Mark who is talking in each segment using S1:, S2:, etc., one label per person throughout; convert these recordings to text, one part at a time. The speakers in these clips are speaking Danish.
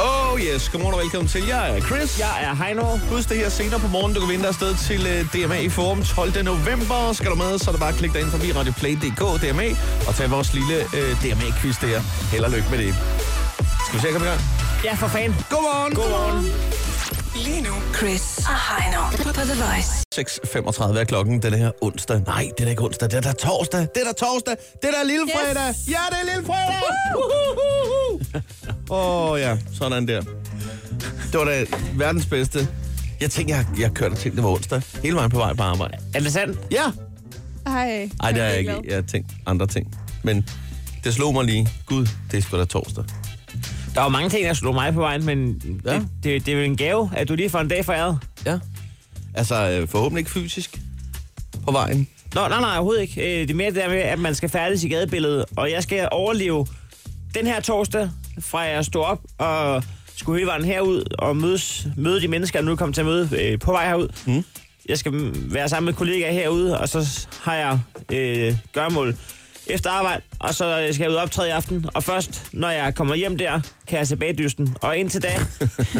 S1: Oh, Yes, godmorgen og velkommen til. Jeg er Chris.
S2: Jeg er Heino.
S1: Husk det her senere på morgen. Du kan vinde dig afsted til øh, DMA i Forum 12. november. Skal du med, så er det bare at klikke dig ind forbi radioplay.dk DMA og tage vores lille øh, DMA-quiz der. Held og lykke med det. Skal vi se at komme i gang?
S2: Ja, for fan.
S1: Godmorgen! Godmorgen!
S3: Lige nu, Chris og Heino på The Voice.
S1: 6.35 er klokken den her onsdag. Nej, det er da ikke onsdag. Det er da torsdag. Det er da torsdag. Det er da lille fredag. Yes. Ja, det er lille fredag. Åh oh, ja, sådan der. Det var da verdens bedste. Jeg tænkte, jeg, jeg kørte til det var onsdag. Hele vejen på vej på arbejde.
S2: Er det sandt?
S1: Ja.
S4: Ej,
S1: Ej, det har jeg ikke.
S4: glad.
S1: Jeg har tænkt andre ting. Men det slog mig lige. Gud, det er sgu da torsdag.
S2: Der var mange ting, der slog mig på vejen, men
S1: Ja.
S2: ja. det, det, det er jo en gave, at du lige får en dag foræret.
S1: Ja. Altså, øh, forhåbentlig ikke fysisk på vejen.
S2: Nå, nej, nej, overhovedet ikke. Øh, Det er mere det der med, at man skal færdes i gadebilledet, og jeg skal overleve den her torsdag, fra jeg stod op og skulle hele vejen herud og mødes, møde de mennesker, jeg nu kommer til at møde øh, på vej herud. Mm. Jeg skal mm, være sammen med kollegaer herude, og så s- har jeg øh, gørmål efter arbejde, og så skal jeg ud og optræde i aften. Og først, når jeg kommer hjem der, kan jeg se bagdysten. Og indtil da,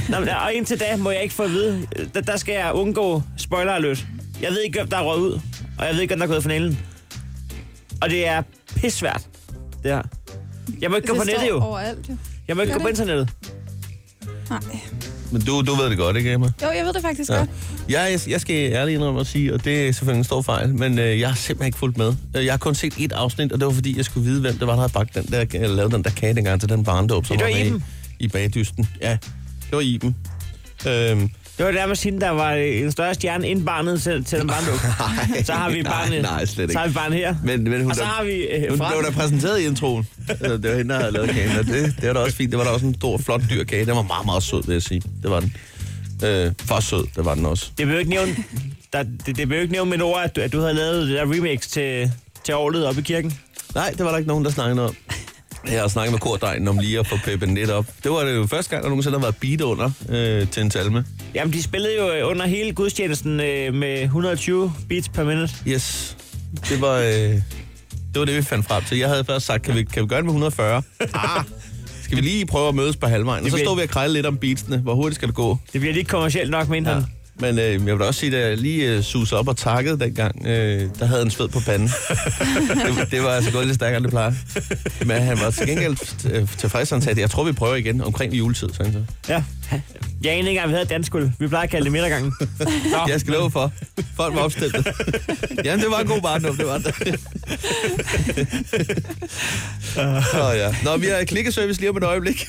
S2: Nå, men, og indtil da må jeg ikke få at vide, øh, der, der skal jeg undgå spoiler alert. Jeg ved ikke, hvem der er røget ud, og jeg ved ikke, hvem der er gået i finalen. Og det er pissvært, det her. Jeg må ikke gå på
S4: det
S2: nettet
S4: står
S2: jo.
S4: overalt jo.
S2: Jeg må ikke
S4: Gør
S2: gå på
S4: det?
S2: internettet.
S4: Nej.
S1: Men du, du ved det godt, ikke Emma?
S4: Jo, jeg ved det faktisk
S1: Ja.
S4: godt.
S1: Jeg, jeg skal ærligt indrømme at sige, og det er selvfølgelig en stor fejl, men øh, jeg har simpelthen ikke fulgt med. Øh, Jeg har kun set et afsnit, og det var fordi, jeg skulle vide, hvem det var, der havde bagt den der, eller lavet den der kage dengang til den barndåb, som
S2: Ja, det var
S1: var med
S2: Iben.
S1: i, i bagdysten. Ja, det var Iben. Øhm,
S2: Det var nærmest hende, der var øh, en større stjerne end barnet til, til den barnduk. så har vi
S1: nej,
S2: barnet,
S1: nej, slet ikke.
S2: Så har vi barnet her.
S1: men, men hun,
S2: og så har vi øh,
S1: hun
S2: Frank.
S1: blev da præsenteret i introen. Øh, det var hende, der havde lavet kagen, og det, det var da også fint. Det var da også en stor, flot, dyr kage. Den var meget, meget sød, vil jeg sige. Det var den. Øh, for sød, det var den også.
S2: Det blev ikke nævnt, der, det, det blev ikke nævnt med et ord, at du, at du havde lavet det der remix til, til året oppe i kirken.
S1: Nej, det var der ikke nogen, der snakkede om. Jeg har snakket med kordegnen om lige at få peppet lidt op. Det var det jo første gang, der nogensinde har været beat under øh, til en salme.
S2: Jamen, de spillede jo øh, under hele gudstjenesten øh, med 120 beats per minute.
S1: Yes, det var, øh, det var det, vi fandt frem til. Jeg havde først sagt, kan vi, kan vi gøre det med 140? Ah, skal vi lige prøve at mødes på halvvejen? Og så
S2: Det
S1: stod vi og krejlede lidt om beatsene. Hvor hurtigt skal det gå?
S2: Det bliver lige kommercielt nok, mente ja.
S1: Ja.
S2: han.
S1: Men øh, jeg vil da også sige, at jeg lige øh, susede op og takkede dengang, øh, der havde en sved på panden. det, det var altså gået lidt stærkere, end det plejer. Men han var til gengæld øh, tilfreds, han sagde, jeg tror, vi prøver igen omkring juletid. Sådan så.
S2: Ja. Jeg anede ikke engang, vi havde dansk guld. Vi plejer at kalde det midtergangen. Nå,
S1: Jeg skal love for. Folk var opstillet. Jamen, det var en god barndom, det var det. Nå ja. Nå, vi har klikkeservice lige om et øjeblik.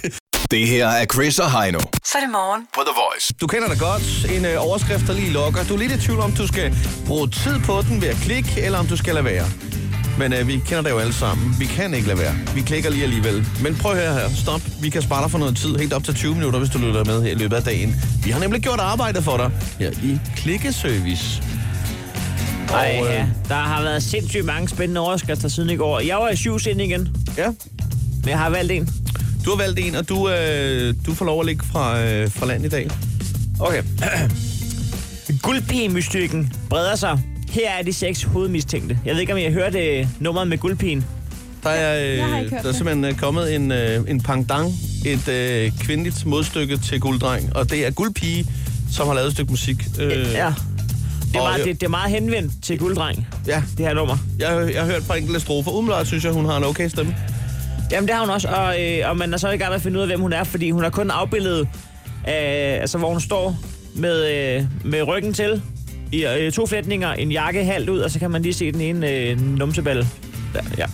S5: Det her er Chris og Heino
S3: Så er det morgen.
S5: på The Voice.
S1: Du kender det godt. En øh, overskrift, der lige lokker. Du er lidt i tvivl om, du skal bruge tid på den ved at klikke, eller om du skal lade være. Men øh, vi kender det jo alle sammen. Vi kan ikke lade være. Vi klikker lige alligevel. Men prøv her her. Stop. Vi kan spare dig for noget tid. Helt op til 20 minutter, hvis du lytter med her i løbet af dagen. Vi har nemlig gjort arbejdet for dig her i Klikkeservice.
S2: Ej,
S1: Og, øh,
S2: ja. Der har været sindssygt mange spændende overskrifter siden i går. Jeg var i syv sind igen,
S1: Ja.
S2: men jeg har valgt en.
S1: Du har valgt en, og du, øh, du får lov at ligge fra, øh, fra land i dag.
S2: Okay. Guldpigen-mystikken breder sig. Her er de seks hovedmistænkte. Jeg ved ikke, om jeg hørte øh, nummeret med guldpigen.
S1: Der er, øh,
S4: jeg har ikke hørt
S1: der er
S4: det.
S1: simpelthen øh, kommet en, øh, en pangdang, et øh, kvindeligt modstykke til gulddreng, og det er guldpige, som har lavet et stykke musik. Øh,
S2: Ja. Det er,
S1: Og
S2: meget,
S1: jeg-
S2: det, det er meget henvendt til gulddreng,
S1: ja.
S2: det her nummer.
S1: Jeg, jeg har hørt fra enkelte strofer. Umiddelbart synes jeg, hun har en okay stemme.
S2: Jamen, det har hun også, og, øh, og man er så i gang med at finde ud af, hvem hun er, fordi hun har kun afbildet, øh, altså hvor hun står med, øh, med ryggen til, i øh, to flætninger, en jakke halvt ud, og så kan man lige se den ene øh, numseballe. Der, ja.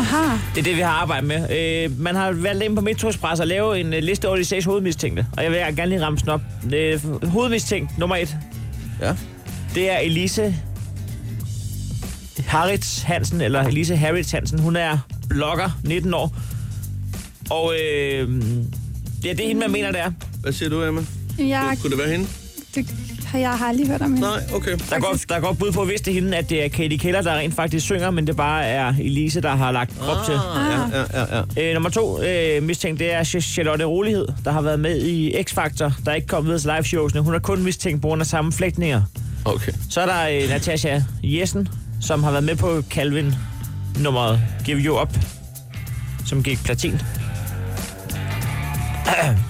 S4: Aha.
S2: Det er det, vi har arbejdet med. Øh, man har valgt ind på Metro Express at lave en øh, liste over de seks hovedmistænkte, og jeg vil gerne lige ramse den op. Øh, hovedmistænkt nummer et,
S1: Ja.
S2: det er Elise Harrits Hansen, eller Elise Harrits Hansen. Hun er blogger, 19 år. Og øh, ja, det er hende, man mener, det er.
S1: Hvad siger du, Emma?
S4: Jamen, Jeg,
S1: Kunne- Kunne det være hende?
S4: det, har- jeg har aldrig hørt om hende.
S1: Nej, okay.
S2: Der går, der går bud på, hvis det er hende, at det er Katie Keller, der rent faktisk synger, men det bare er Elise, der har lagt krop til.
S1: Ah, ja, ja, ja, ja.
S2: Øh, nummer to øh, mistænkt, det er Ch- Charlotte Rolighed, der har været med i X-Factor, der er ikke kommet videre til liveshowsene. Hun er kun mistænkt på grund af samme flægtninger.
S1: Okay.
S2: Så er der øh, Natasha Jessen, som har været med på Calvin nummeret Give You Up, som gik platin.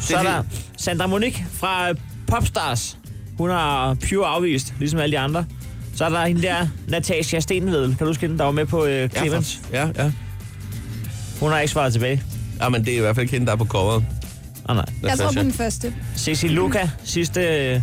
S2: Så er der Sandra Monique fra øh, Popstars. Hun har Pure afvist, ligesom alle de andre. Så er der hende der, Natasha Stenvedel. Kan du huske hende, der var med på øh, Clemens?
S1: Ja, ja.
S2: Hun har ikke svaret tilbage.
S1: Jamen, det er i hvert fald ikke hende, der er på coveret.
S2: Oh, nej.
S4: Jeg tror på
S1: Natasha.
S4: den første.
S2: Ceci Luca, sidste øh,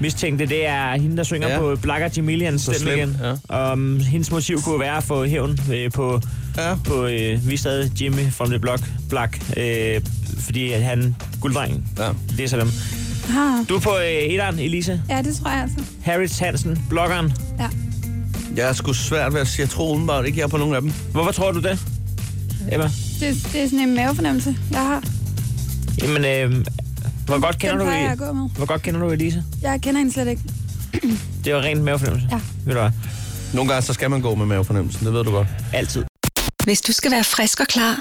S2: mistænkte, det er hende, der synger
S1: Ja.
S2: ja. på Blacker Jamilians
S1: På
S2: stemme
S1: Slem,
S2: igen. Ja. Um, hendes motiv kunne være at få hævn øh, på,
S1: Ja.
S2: ja. på øh, vi stadig Jimmy from the Block, Black, øh, fordi at han gulddrengen.
S1: Ja.
S2: Det er så dem.
S4: Aha.
S2: Du er på øh, etteren, Elise.
S4: Ja, det tror jeg altså.
S2: Harris Hansen, bloggeren.
S4: Ja.
S1: Jeg er sgu svært ved at sige, jeg tror udenbart ikke, jeg er på nogen af dem.
S2: Hvorfor tror du det, Emma?
S4: Det, det er sådan en mavefornemmelse, jeg har.
S2: Jamen, øh, hvor godt kender
S4: den
S2: du
S4: plejer jeg
S2: E-
S4: at gå med.
S2: Hvor godt kender du Elise?
S4: Jeg kender hende slet ikke. Mm,
S2: Det var rent mavefornemmelse.
S4: Ja.
S2: Ved du hvad?
S1: Nogle gange, så skal man gå med mavefornemmelsen, det ved du godt.
S2: Altid.
S3: Hvis du skal være frisk og klar,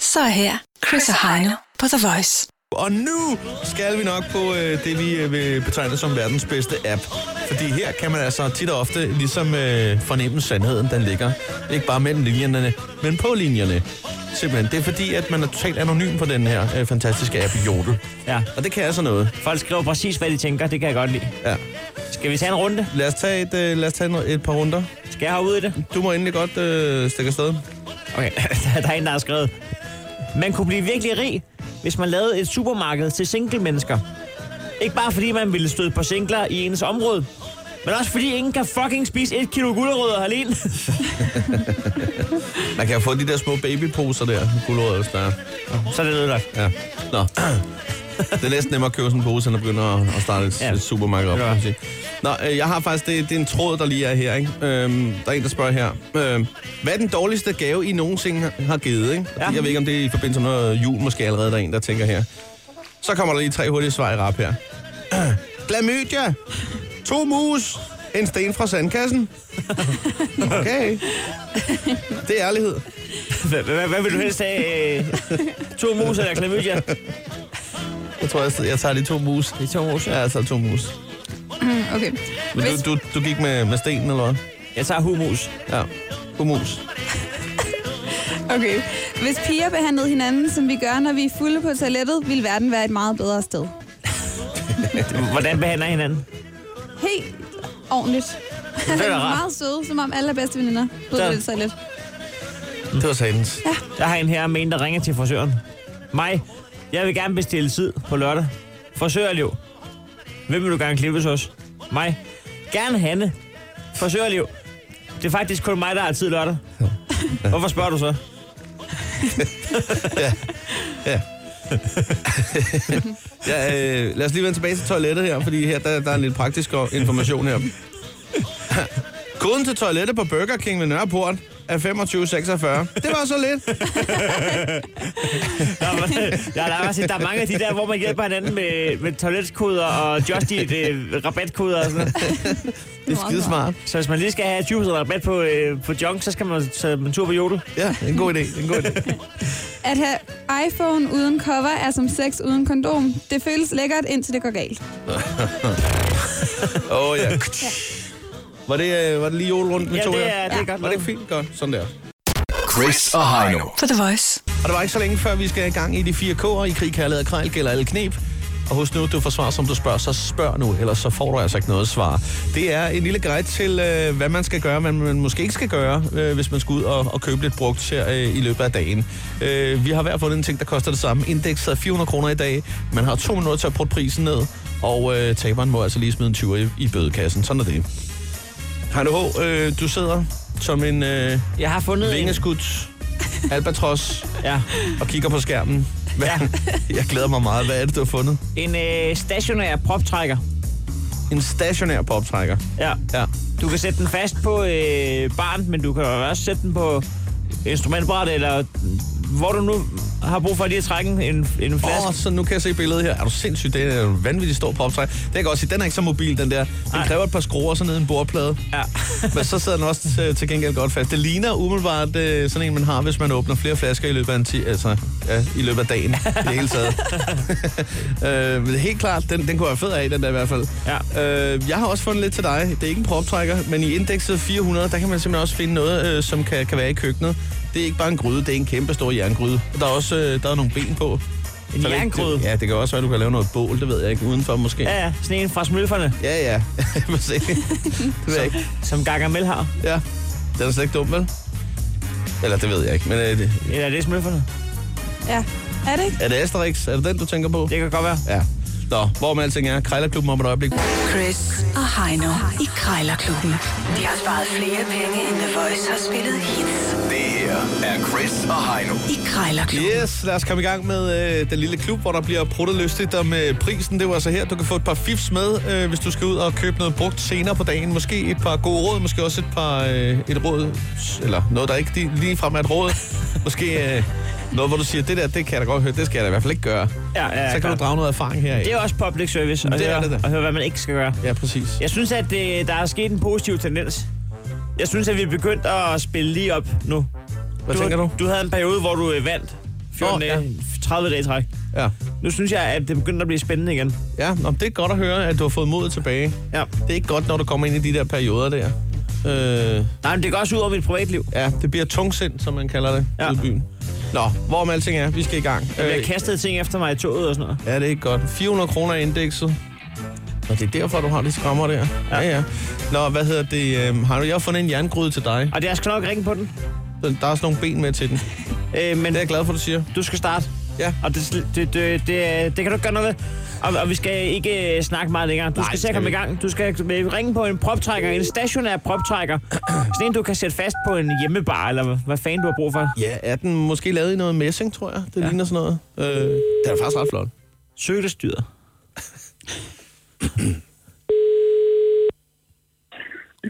S3: så er her Chris og Heino på The Voice.
S1: Og nu skal vi nok på øh, det, vi øh, vil betegne som verdens bedste app. Fordi her kan man altså tit og ofte ligesom øh, fornemme sandheden, den ligger. Ikke bare mellem linjerne, men på linjerne. Simpelthen. Det er fordi, at man er totalt anonym på den her øh, fantastiske app, Jodel.
S2: Ja.
S1: Og det kan altså noget.
S2: Folk skriver præcis, hvad de tænker. Det kan jeg godt lide.
S1: Ja.
S2: Skal vi tage en runde?
S1: Lad os tage et, øh, lad os tage en, et par runder.
S2: Skal jeg have ud i det?
S1: Du må endelig godt øh, stikke afsted.
S2: Okay, der er en, der har skrevet. Man kunne blive virkelig rig, hvis man lavede et supermarked til single-mennesker. Ikke bare fordi man ville støde på singler i ens område, men også fordi ingen kan fucking spise et kilo gulerødder alene.
S1: Man kan jo få de der små babyposer der, gulerødder, hvis der er.
S2: Så er det noget
S1: Ja. Nå. Det er næsten nemmere at købe sådan en pose, end at begynde at, at starte et, ja.
S2: Ja.
S1: et supermarked op.
S2: Ja.
S1: kan man sige. Nå, øh, jeg har faktisk, det, det er en tråd, der lige er her, ikke? Øhm, der er en, der spørger her. Øhm, hvad er den dårligste gave, I nogensinde har- har givet, ikke? Ja.
S2: Ja.
S1: Jeg ved ikke, om det er i forbindelse med noget jul, måske allerede, der er en, der tænker her. Så kommer der lige tre hurtige svar i rap her. Glamydia, to mus, en sten fra sandkassen. Okay. Det er ærlighed.
S2: godt. Hvad vil du helst have? To mus eller klamydia?
S1: Jeg tror, jeg, jeg tager de to mus.
S2: De to mus.
S1: Ja, jeg tager to mus.
S4: Mm, okay.
S1: Men
S4: Hvis,
S1: du, du, du gik med, med stenen, eller hvad?
S2: Jeg tager humus.
S1: Ja. Humus.
S4: okay. Hvis piger behandlede hinanden, som vi gør, når vi er fulde på toilettet, ville verden være et meget bedre sted.
S2: Hvordan behandler I hinanden?
S4: Helt ordentligt. Altså,
S2: da
S4: de
S2: rart.
S4: er meget søde, som om alle er bedste veninder. Ved
S2: Så-
S4: du det så lidt.
S1: Det var satans. Ja.
S2: Der har en her med en, der ringer til frisøren. Mig, jeg vil gerne bestille tid på lørdag. Frisørliv. Hvem vil du gerne klippes hos? Mig. Gerne Hanne. Frisørliv. Det er faktisk kun mig, der har tid lørdag. Hvorfor spørger du så?
S1: Ja, øh, lad os lige vende tilbage til toilettet her, fordi her der, der er lidt praktisk og- information her. Koden til toilettet på Burger King ved Nørreport er 2546. Det var så lidt.
S2: Der, er- der, er- der, er, der er mange af de der, hvor man hjælper hinanden med, med toiletkoder og just eat, øh, rabatkoder og sådan noget.
S1: Det er skidesmart.
S2: Så hvis man lige skal have 20% rabat på, øh, på junk, så skal man tage en tur på jodel.
S1: Ja, det er en god idé. Det er en god idé.
S4: At have iPhone uden cover er som sex uden kondom. Det føles lækkert, indtil det går galt.
S1: Åh, oh, ja. Var det, øh, var det lige jordrunden, vi
S2: Ja,
S1: tog
S2: det
S1: her?
S2: er, det er godt
S1: Var det
S2: lavet.
S1: fint? Godt. Sådan der.
S5: Chris og Heino.
S3: På The Voice.
S1: Og det var ikke så længe før, vi skal i gang i de fire K'er. I krig, kærlighed og krejl gælder alle knep. Og husk nu, du får svar, som du spørger, så spørg nu, ellers så får du altså ikke noget svar. Det er en lille guide til, øh, hvad man skal gøre, men man måske ikke skal gøre, øh, hvis man skal ud og, og købe lidt brugt her øh, i løbet af dagen. Øh, vi har hver fundet en ting, der koster det samme. Indekset er 400 kroner i dag. Man har to minutter til at putte prisen ned, og øh, taberen må altså lige smide en 20 i, i bødekassen. Sådan er det. Heino H., øh, du sidder som en øh,
S2: Jeg har fundet
S1: vingeskudt albatros
S2: en, ja,
S1: og kigger på skærmen. Hvad?
S2: Ja.
S1: Jeg glæder mig meget. Hvad er det, du har fundet?
S2: en øh, stationær proptrækker.
S1: En stationær poptrækker.
S2: Ja.
S1: Ja.
S2: Du kan sætte den fast på øh, barn, men du kan også sætte den på instrumentbræt, eller hvor du nu har brug for lige at trække en, en flaske.
S1: Åh, oh, så nu kan jeg se billedet her. Er du sindssyg? Det er en vanvittig stor poptrækker. Det kan jeg godt sige. Den er ikke så mobil, den der. Den
S2: Nej.
S1: kræver et par skruer sådan ned i en bordplade.
S2: Ja.
S1: Men så sidder den også til, til gengæld godt fast. Det ligner umiddelbart øh, sådan en, man har, hvis man åbner flere flasker i løbet af, en ti, altså, ja, i løbet af dagen. I det hele taget. øh, men helt klart, den, den kunne jeg være fed af, den der i hvert fald.
S2: Ja.
S1: Øh, jeg har også fundet lidt til dig. Det er ikke en proptrækker, men i indekset 400, der kan man simpelthen også finde noget, øh, som kan, kan være i køkkenet. Det er ikke bare en gryde, det er en kæmpe stor jerngryde. Og Der er også øh, der er nogle ben på.
S2: En
S1: Så er det ikke-
S2: jernkryde.
S1: Ja, det kan også være, at du kan lave noget bål, det ved jeg ikke, udenfor måske.
S2: Ja, ja, sådan en fra smølferne,
S1: Ja, ja. Præcis. det ved jeg ikke.
S2: som Gargamel har.
S1: Ja. Den er slet ikke dum, vel? Eller det ved jeg ikke, men er det,
S2: Eller er det smølferne?
S4: Ja. Er det ikke?
S1: er det Asterix? Er det den, du tænker på?
S2: Det kan godt være.
S1: Ja. Nå, hvor med alting er, Krejlerklubben om et øjeblik.
S6: Chris og Heino i Krejlerklubben. De har sparet flere penge, end The Voice har spillet hits
S5: Det her er Chris og Heino.
S6: i Krejlerklubben.
S1: Yes, lad os komme i gang med øh, den lille klub, hvor der bliver pruttet lystigt om øh, prisen. Det var altså her, du kan få et par fifs med, øh, hvis du skal ud og købe noget brugt senere på dagen. Måske et par gode råd, måske også et par øh, et råd, s- eller noget, der ikke lige ligefrem er et råd. Måske øh, noget, hvor du siger, det der, det kan jeg da godt høre, det skal jeg da i hvert fald ikke gøre.
S2: Ja, ja,
S1: Så kan
S2: klart.
S1: du drage noget erfaring her.
S2: Det er også public service at,
S1: Det er
S2: høre,
S1: det da.
S2: at høre, hvad man ikke skal gøre.
S1: Ja, præcis.
S2: Jeg synes, at det, der er sket en positiv tendens. Jeg synes, at vi er begyndt at spille lige op nu.
S1: Hvad tænker du?
S2: Du havde en periode, hvor du øh, vandt 14
S1: Nå,
S2: oh,
S1: ja.
S2: dage, 30 dage i træk.
S1: Ja.
S2: Nu synes jeg, at det begynder at blive spændende igen.
S1: Ja, nå, det er godt at høre, at du har fået modet tilbage.
S2: Ja.
S1: Det er ikke godt, når du kommer ind i de der perioder der. Øh,
S2: Nej, men det går også ud over mit privatliv.
S1: ja, det bliver tungsind, som man kalder det, ja.
S2: Ja.
S1: ude i byen. Nå, hvor med alting er, vi skal i gang. Øh,
S2: Jeg bliver kastet ting efter mig i toget og sådan noget.
S1: Ja, det er ikke godt. 400 kroner i indekset. Og det er derfor, du har de skrammer der. Ja, ja. Nå, hvad hedder det? Øh, har du, jeg har fundet en jerngryde til dig.
S2: Og det er skal nok ringe på den.
S1: Der er også nogle ben med til den. Det
S2: Øh, men
S1: er jeg glad for, du siger.
S2: du skal starte.
S1: Ja.
S2: Og det, det, det, det, det kan du ikke gøre noget ved. Og, og vi skal ikke øh, snakke meget længere. Du
S1: Nej,
S2: skal
S1: det
S2: se at
S1: skal
S2: komme i
S1: vi
S2: gang. Du skal øh, ringe på en proptrækker, en stationær proptrækker. Sådan en, du kan sætte fast på en hjemmebar, eller hvad, hvad fanden du har brug for.
S1: Ja, er den måske lavet i noget messing, tror jeg. Det ja. ligner sådan noget. Øh, det er faktisk ret flot.
S2: Søgestyret.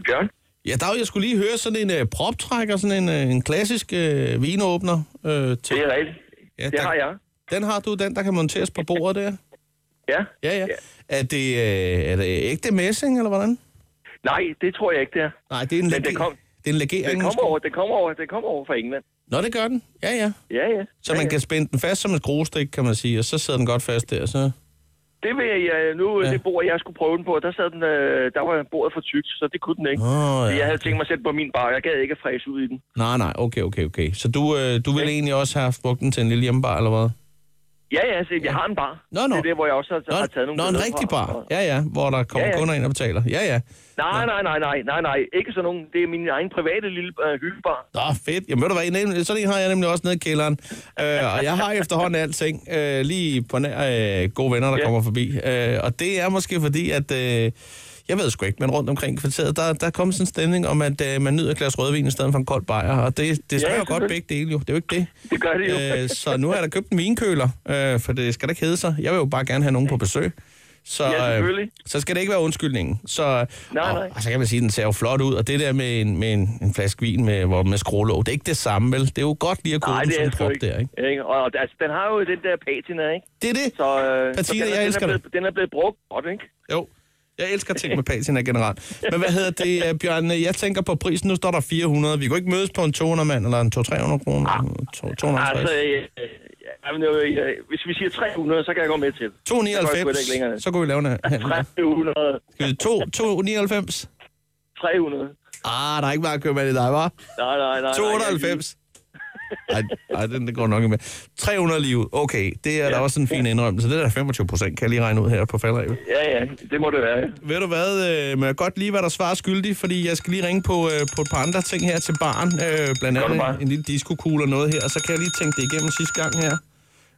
S7: Bjørn?
S1: Ja, Dag, jeg skulle lige høre sådan en øh, proptrækker, sådan en, øh, en klassisk øh, vinåbner. Øh, til.
S7: Det er rigtigt.
S1: Ja,
S7: Det har jeg.
S1: Den har du, den der kan monteres på bordet der.
S7: Ja.
S1: Ja, ja. Er det, øh, er det ægte messing, eller hvordan?
S7: Nej, det tror jeg ikke, det er.
S1: Nej, det er en,
S7: Men den
S1: lege-
S7: kom-
S1: det er en legering.
S7: Den kommer,
S1: måske.
S7: over, den, kommer over, den kommer over fra England.
S1: Nå, det gør den. Ja, ja.
S7: Ja, ja.
S1: Så
S7: ja,
S1: man
S7: ja.
S1: kan spænde den fast som et skruestik, kan man sige, og så sidder den godt fast der. Så...
S7: Det vil jeg, ja, nu,
S1: Ja.
S7: ja. det bord, jeg skulle prøve den på, der, sad den, øh, der var bordet for tykt, så det kunne den ikke.
S1: Åh,
S7: Så
S1: ja.
S7: Jeg havde tænkt mig selv på min bar, jeg gad ikke at fræse ud i den.
S1: Nej, nej, okay, okay, okay. Så du, øh, du ville
S7: Ja.
S1: egentlig også have brugt den til en lille hjemmebar, eller hvad?
S7: Ja, ja, altså, jeg har en bar.
S1: Nå, nå.
S7: Det er det, hvor jeg også har,
S1: Nå,
S7: har taget nogle
S1: nå en
S7: billeder
S1: rigtig
S7: fra.
S1: bar. Ja, ja, hvor der kommer
S7: Ja, ja.
S1: kunder ind og betaler. Ja, ja.
S7: Nej, nej, nej, nej, nej, nej. Ikke sådan nogen. Det er min egen private lille øh, hyggebar.
S1: Nå, fedt. Jamen ved du hvad, nemlig, sådan en har jeg nemlig også nede i kælderen. Øh, og jeg har efterhånden alting, øh, lige på nær øh, gode venner, der ja.
S7: Ja.
S1: kommer forbi. Øh, og det er måske fordi, at... Øh, jeg ved sgu ikke, men rundt omkring i kvarteret, der, der kom sådan en stemning om, at øh, man nyder et glas rødvin i stedet for en kold bajer. Og det, det smager ja, godt
S7: selvfølgelig.
S1: begge dele jo. Det er jo ikke det.
S7: Det gør det jo.
S1: Øh, så nu har jeg da købt en vinkøler, øh, for det skal da ikke hedde sig. Jeg vil jo bare gerne have nogen på besøg. Så,
S7: Ja,
S1: øh,
S7: selvfølgelig.
S1: så skal det ikke være undskyldningen. Så,
S7: Nej,
S1: og,
S7: nej.
S1: Og så kan man sige, at den ser jo flot ud, og det der med en, med en, en flaske vin med, hvor, med skrålåg, det er ikke det samme, vel? Det er jo godt lige at kunne
S7: Nej,
S1: den
S7: det
S1: sådan
S7: er
S1: en
S7: sgu
S1: prop
S7: ikke.
S1: der, ikke?
S7: ikke? Og altså, den har jo den der patina, ikke?
S1: Det er det.
S7: Så, øh, så
S1: Patina,
S7: den, er-
S1: jeg
S7: den,
S1: elsker
S7: er blevet, den er blevet brugt godt, ikke?
S1: Jo. Jeg elsker ting med patina generelt. Men hvad hedder det, øh, Bjørn? Jeg tænker på prisen. Nu står der 400. Vi kunne ikke mødes på en 200 mand, eller en 200-300 kroner.
S7: Ah.
S1: To- 250.
S7: Altså, øh, øh, jamen, øh, øh, hvis vi siger 300, så kan jeg gå med til det. Så går jeg sgu da ikke
S1: 299.
S7: længere ned.
S1: Så kunne vi lave en handel.
S7: 300.
S1: Skal vi- to- 299?
S7: 300.
S1: Ah, der er ikke meget købmand i dig, var?
S7: Nej, nej, nej.
S1: 290. Ej, ej, den den går nok ikke med. 300 liv. Okay, det er ja. da også en fin indrømmelse. Det er da 25 procent, kan jeg lige regne ud her på faldrevet.
S7: Nej, ja, ja, det må det være. ja.
S1: Ved du hvad, øh, må jeg godt lige være der svar skyldig, fordi jeg skal lige ringe på, øh, på et par andre ting her til barn. Øh, blandt
S7: Gør du
S1: andet
S7: bare.
S1: en, en lille diskokugle og noget her, og så kan jeg lige tænke det igennem sidste gang her.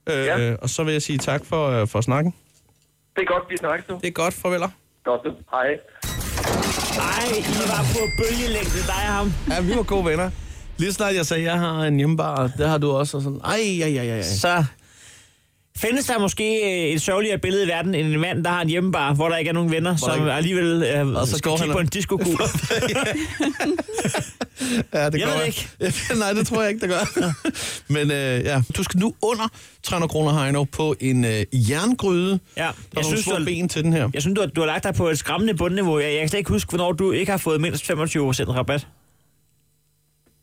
S1: Øh, ja.
S7: Ja.
S1: Og så vil jeg sige tak for, øh, for snakken.
S7: Det er godt, vi snakkes nu.
S1: Det er godt, farveler.
S7: Godt, du. Hej.
S2: Ej, I var på bølgelængde, dig og ham.
S1: Ja, vi var gode venner. Lige snart jeg sagde, jeg har en hjemmebar, det har du også, og sådan, ej, ej, ej, ej, ej.
S2: Så findes der måske øh, et sørgeligere billede i verden, end en mand, der har en hjemmebar, hvor der ikke er nogen venner,
S1: der
S2: som
S1: ikke-
S2: alligevel øh,
S1: Og
S2: og
S1: så
S2: så skal
S1: går
S2: kigge
S1: han
S2: på
S1: og-
S2: en diskokugle.
S1: Ja, det
S2: Jeg
S1: gør
S2: ved
S1: ikke. Nej, det tror jeg ikke, det gør. Men øh, ja, du skal nu under 300 kroner, Heino, på en øh, jerngryde.
S2: Ja,
S1: jeg
S2: jeg
S1: synes,
S2: synes,
S1: små
S2: du-
S1: ben til den her.
S2: Jeg synes, du har, du har lagt dig på et skræmmende bundniveau. Jeg, jeg kan slet ikke huske, hvornår du ikke har fået mindst 25% rabat.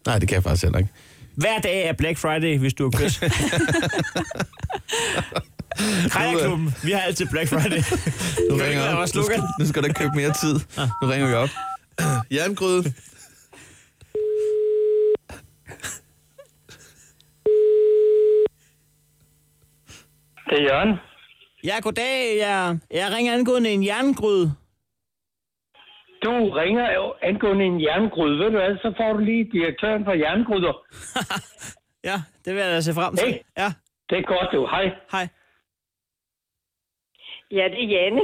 S1: Nej, det kan jeg faktisk heller ikke.
S2: Hver dag er Black Friday, hvis du er kys. Krejerklubben, vi har altid Black Friday.
S1: Nu
S2: Kan
S1: ringer
S2: ikke
S1: jeg
S2: lade
S1: op.
S2: os
S1: Nu
S2: lukke?
S1: skal, nu skal du ikke købe mere tid. Nu ringer vi op. Jerngryde.
S8: Det er Jørgen.
S2: Ja, goddag. Jeg, jeg ringer angående en jerngryde.
S8: Du ringer jo angående en jerngryde, ved du hvad, så får du lige direktøren for jerngryder.
S2: Ja, det vil jeg da se frem til.
S8: Hey.
S2: Ja,
S8: Det er godt, du. Hej.
S2: hej.
S9: Ja, det er Janne.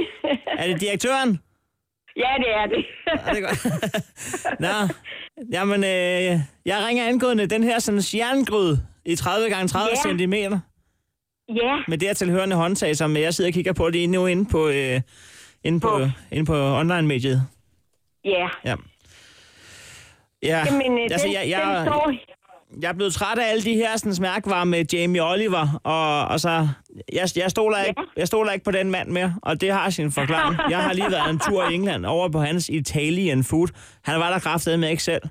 S2: Er det direktøren?
S9: ja, det er det.
S2: Ja, det er godt. Nå, jamen, øh, jeg ringer angående den her sådan jerngryde i 30 gange 30
S9: Ja.
S2: cm
S9: ja,
S2: med dertil hørende håndtag, som jeg sidder og kigger på lige nu inde på, øh, inde på,
S9: Hvor?
S2: inde på online-mediet.
S9: ja.
S2: Ja. Ja,
S9: Jamen, øh,
S2: altså,
S9: den,
S2: jeg,
S9: den
S2: jeg,
S9: står...
S2: jeg er blevet træt af alle de her sådan, mærkvarer med Jamie Oliver, og, og så, jeg, jeg, stoler ikke, jeg stoler ikke på den mand mere, og det har sin forklaring. Jeg har lige været en tur i England over på hans Italian Food. Han var der kraftedet med ikke selv.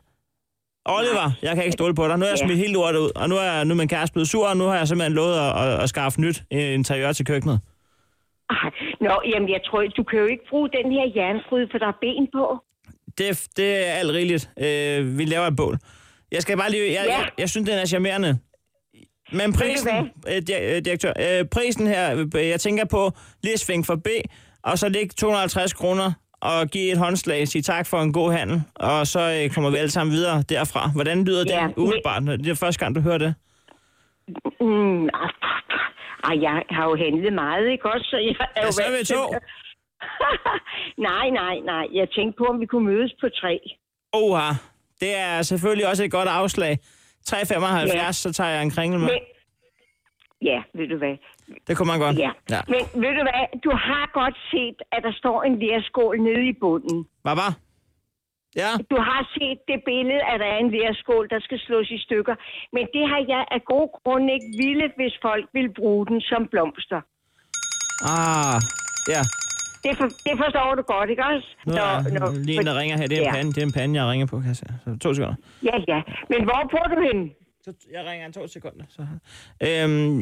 S2: Oliver, jeg kan ikke stole på dig. Nu er jeg
S9: Ja.
S2: smidt helt lortet ud, og nu er, nu er min kæreste blevet sur, og nu har jeg simpelthen lovet at, at, at skaffe nyt øh, interiør til køkkenet.
S9: Ah, Nå, jamen, jeg tror, du kan jo ikke bruge den her jernfryde, for der er ben på.
S2: Det, det er alt rigeligt. Øh, vi laver et bål. Jeg skal bare lige... Jeg,
S9: Ja.
S2: jeg, jeg synes, den er charmerende. Men prisen, øh, di- øh, direktør, øh, prisen her, øh, jeg tænker på, lige at svinge for B, og så lægge 250 kroner og give et håndslag, sige tak for en god handel, og så øh, kommer vi alle sammen videre derfra. Hvordan lyder
S9: Ja,
S2: det
S9: men-
S2: umiddelbart? når- Det er første gang, du hører det.
S9: Mm, ah, ah, jeg har jo handlet meget, ikke også? Så jeg er
S2: Ja,
S9: jo
S2: Altså, så er vi
S9: vant til-
S2: to.
S9: nej, nej, nej. Jeg tænkte på, om vi kunne mødes på tre.
S2: Oha, det er selvfølgelig også et godt afslag. 3,75, ja.
S9: Ja.
S2: så tager jeg en kringel med.
S9: Men... Ja, ved du hvad?
S2: Det kunne man godt.
S9: Ja.
S2: ja.
S9: Men ved du hvad? Du har godt set, at der står en lærskål nede i bunden.
S2: Hvad var? Ja.
S9: Du har set det billede, at der er en lærskål, der skal slås i stykker. Men det har jeg af gode grunde ikke ville, hvis folk ville bruge den som blomster.
S2: Ah, ja.
S9: Det, for, det forstår du godt, ikke også?
S2: Nu er der lige en, der ringer her. Det er en
S9: ja.
S2: pande, det er en pande jeg ringer på, kan jeg se. Så to sekunder.
S9: Ja, ja. Men hvor bor du henne?
S2: Så jeg ringer en to sekunder. Så. Øhm,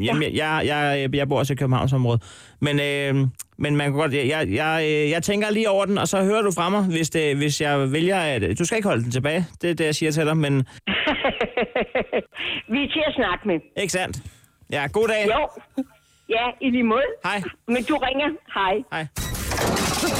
S2: jamen, jeg, jeg, jeg, jeg bor også i Københavnsområdet. Men, øhm, men man kan godt... Jeg, jeg, jeg, øh, jeg tænker lige over den, og så hører du fra mig, hvis, det, hvis jeg vælger... At, du skal ikke holde den tilbage, det er det, jeg siger til dig, men...
S9: Vi er til at snakke med.
S2: Ikke sandt? Ja, god dag.
S9: Jo. Ja, i lige måde.
S2: Hej.
S9: Men du ringer. Hej.
S2: Hej.
S1: Åh,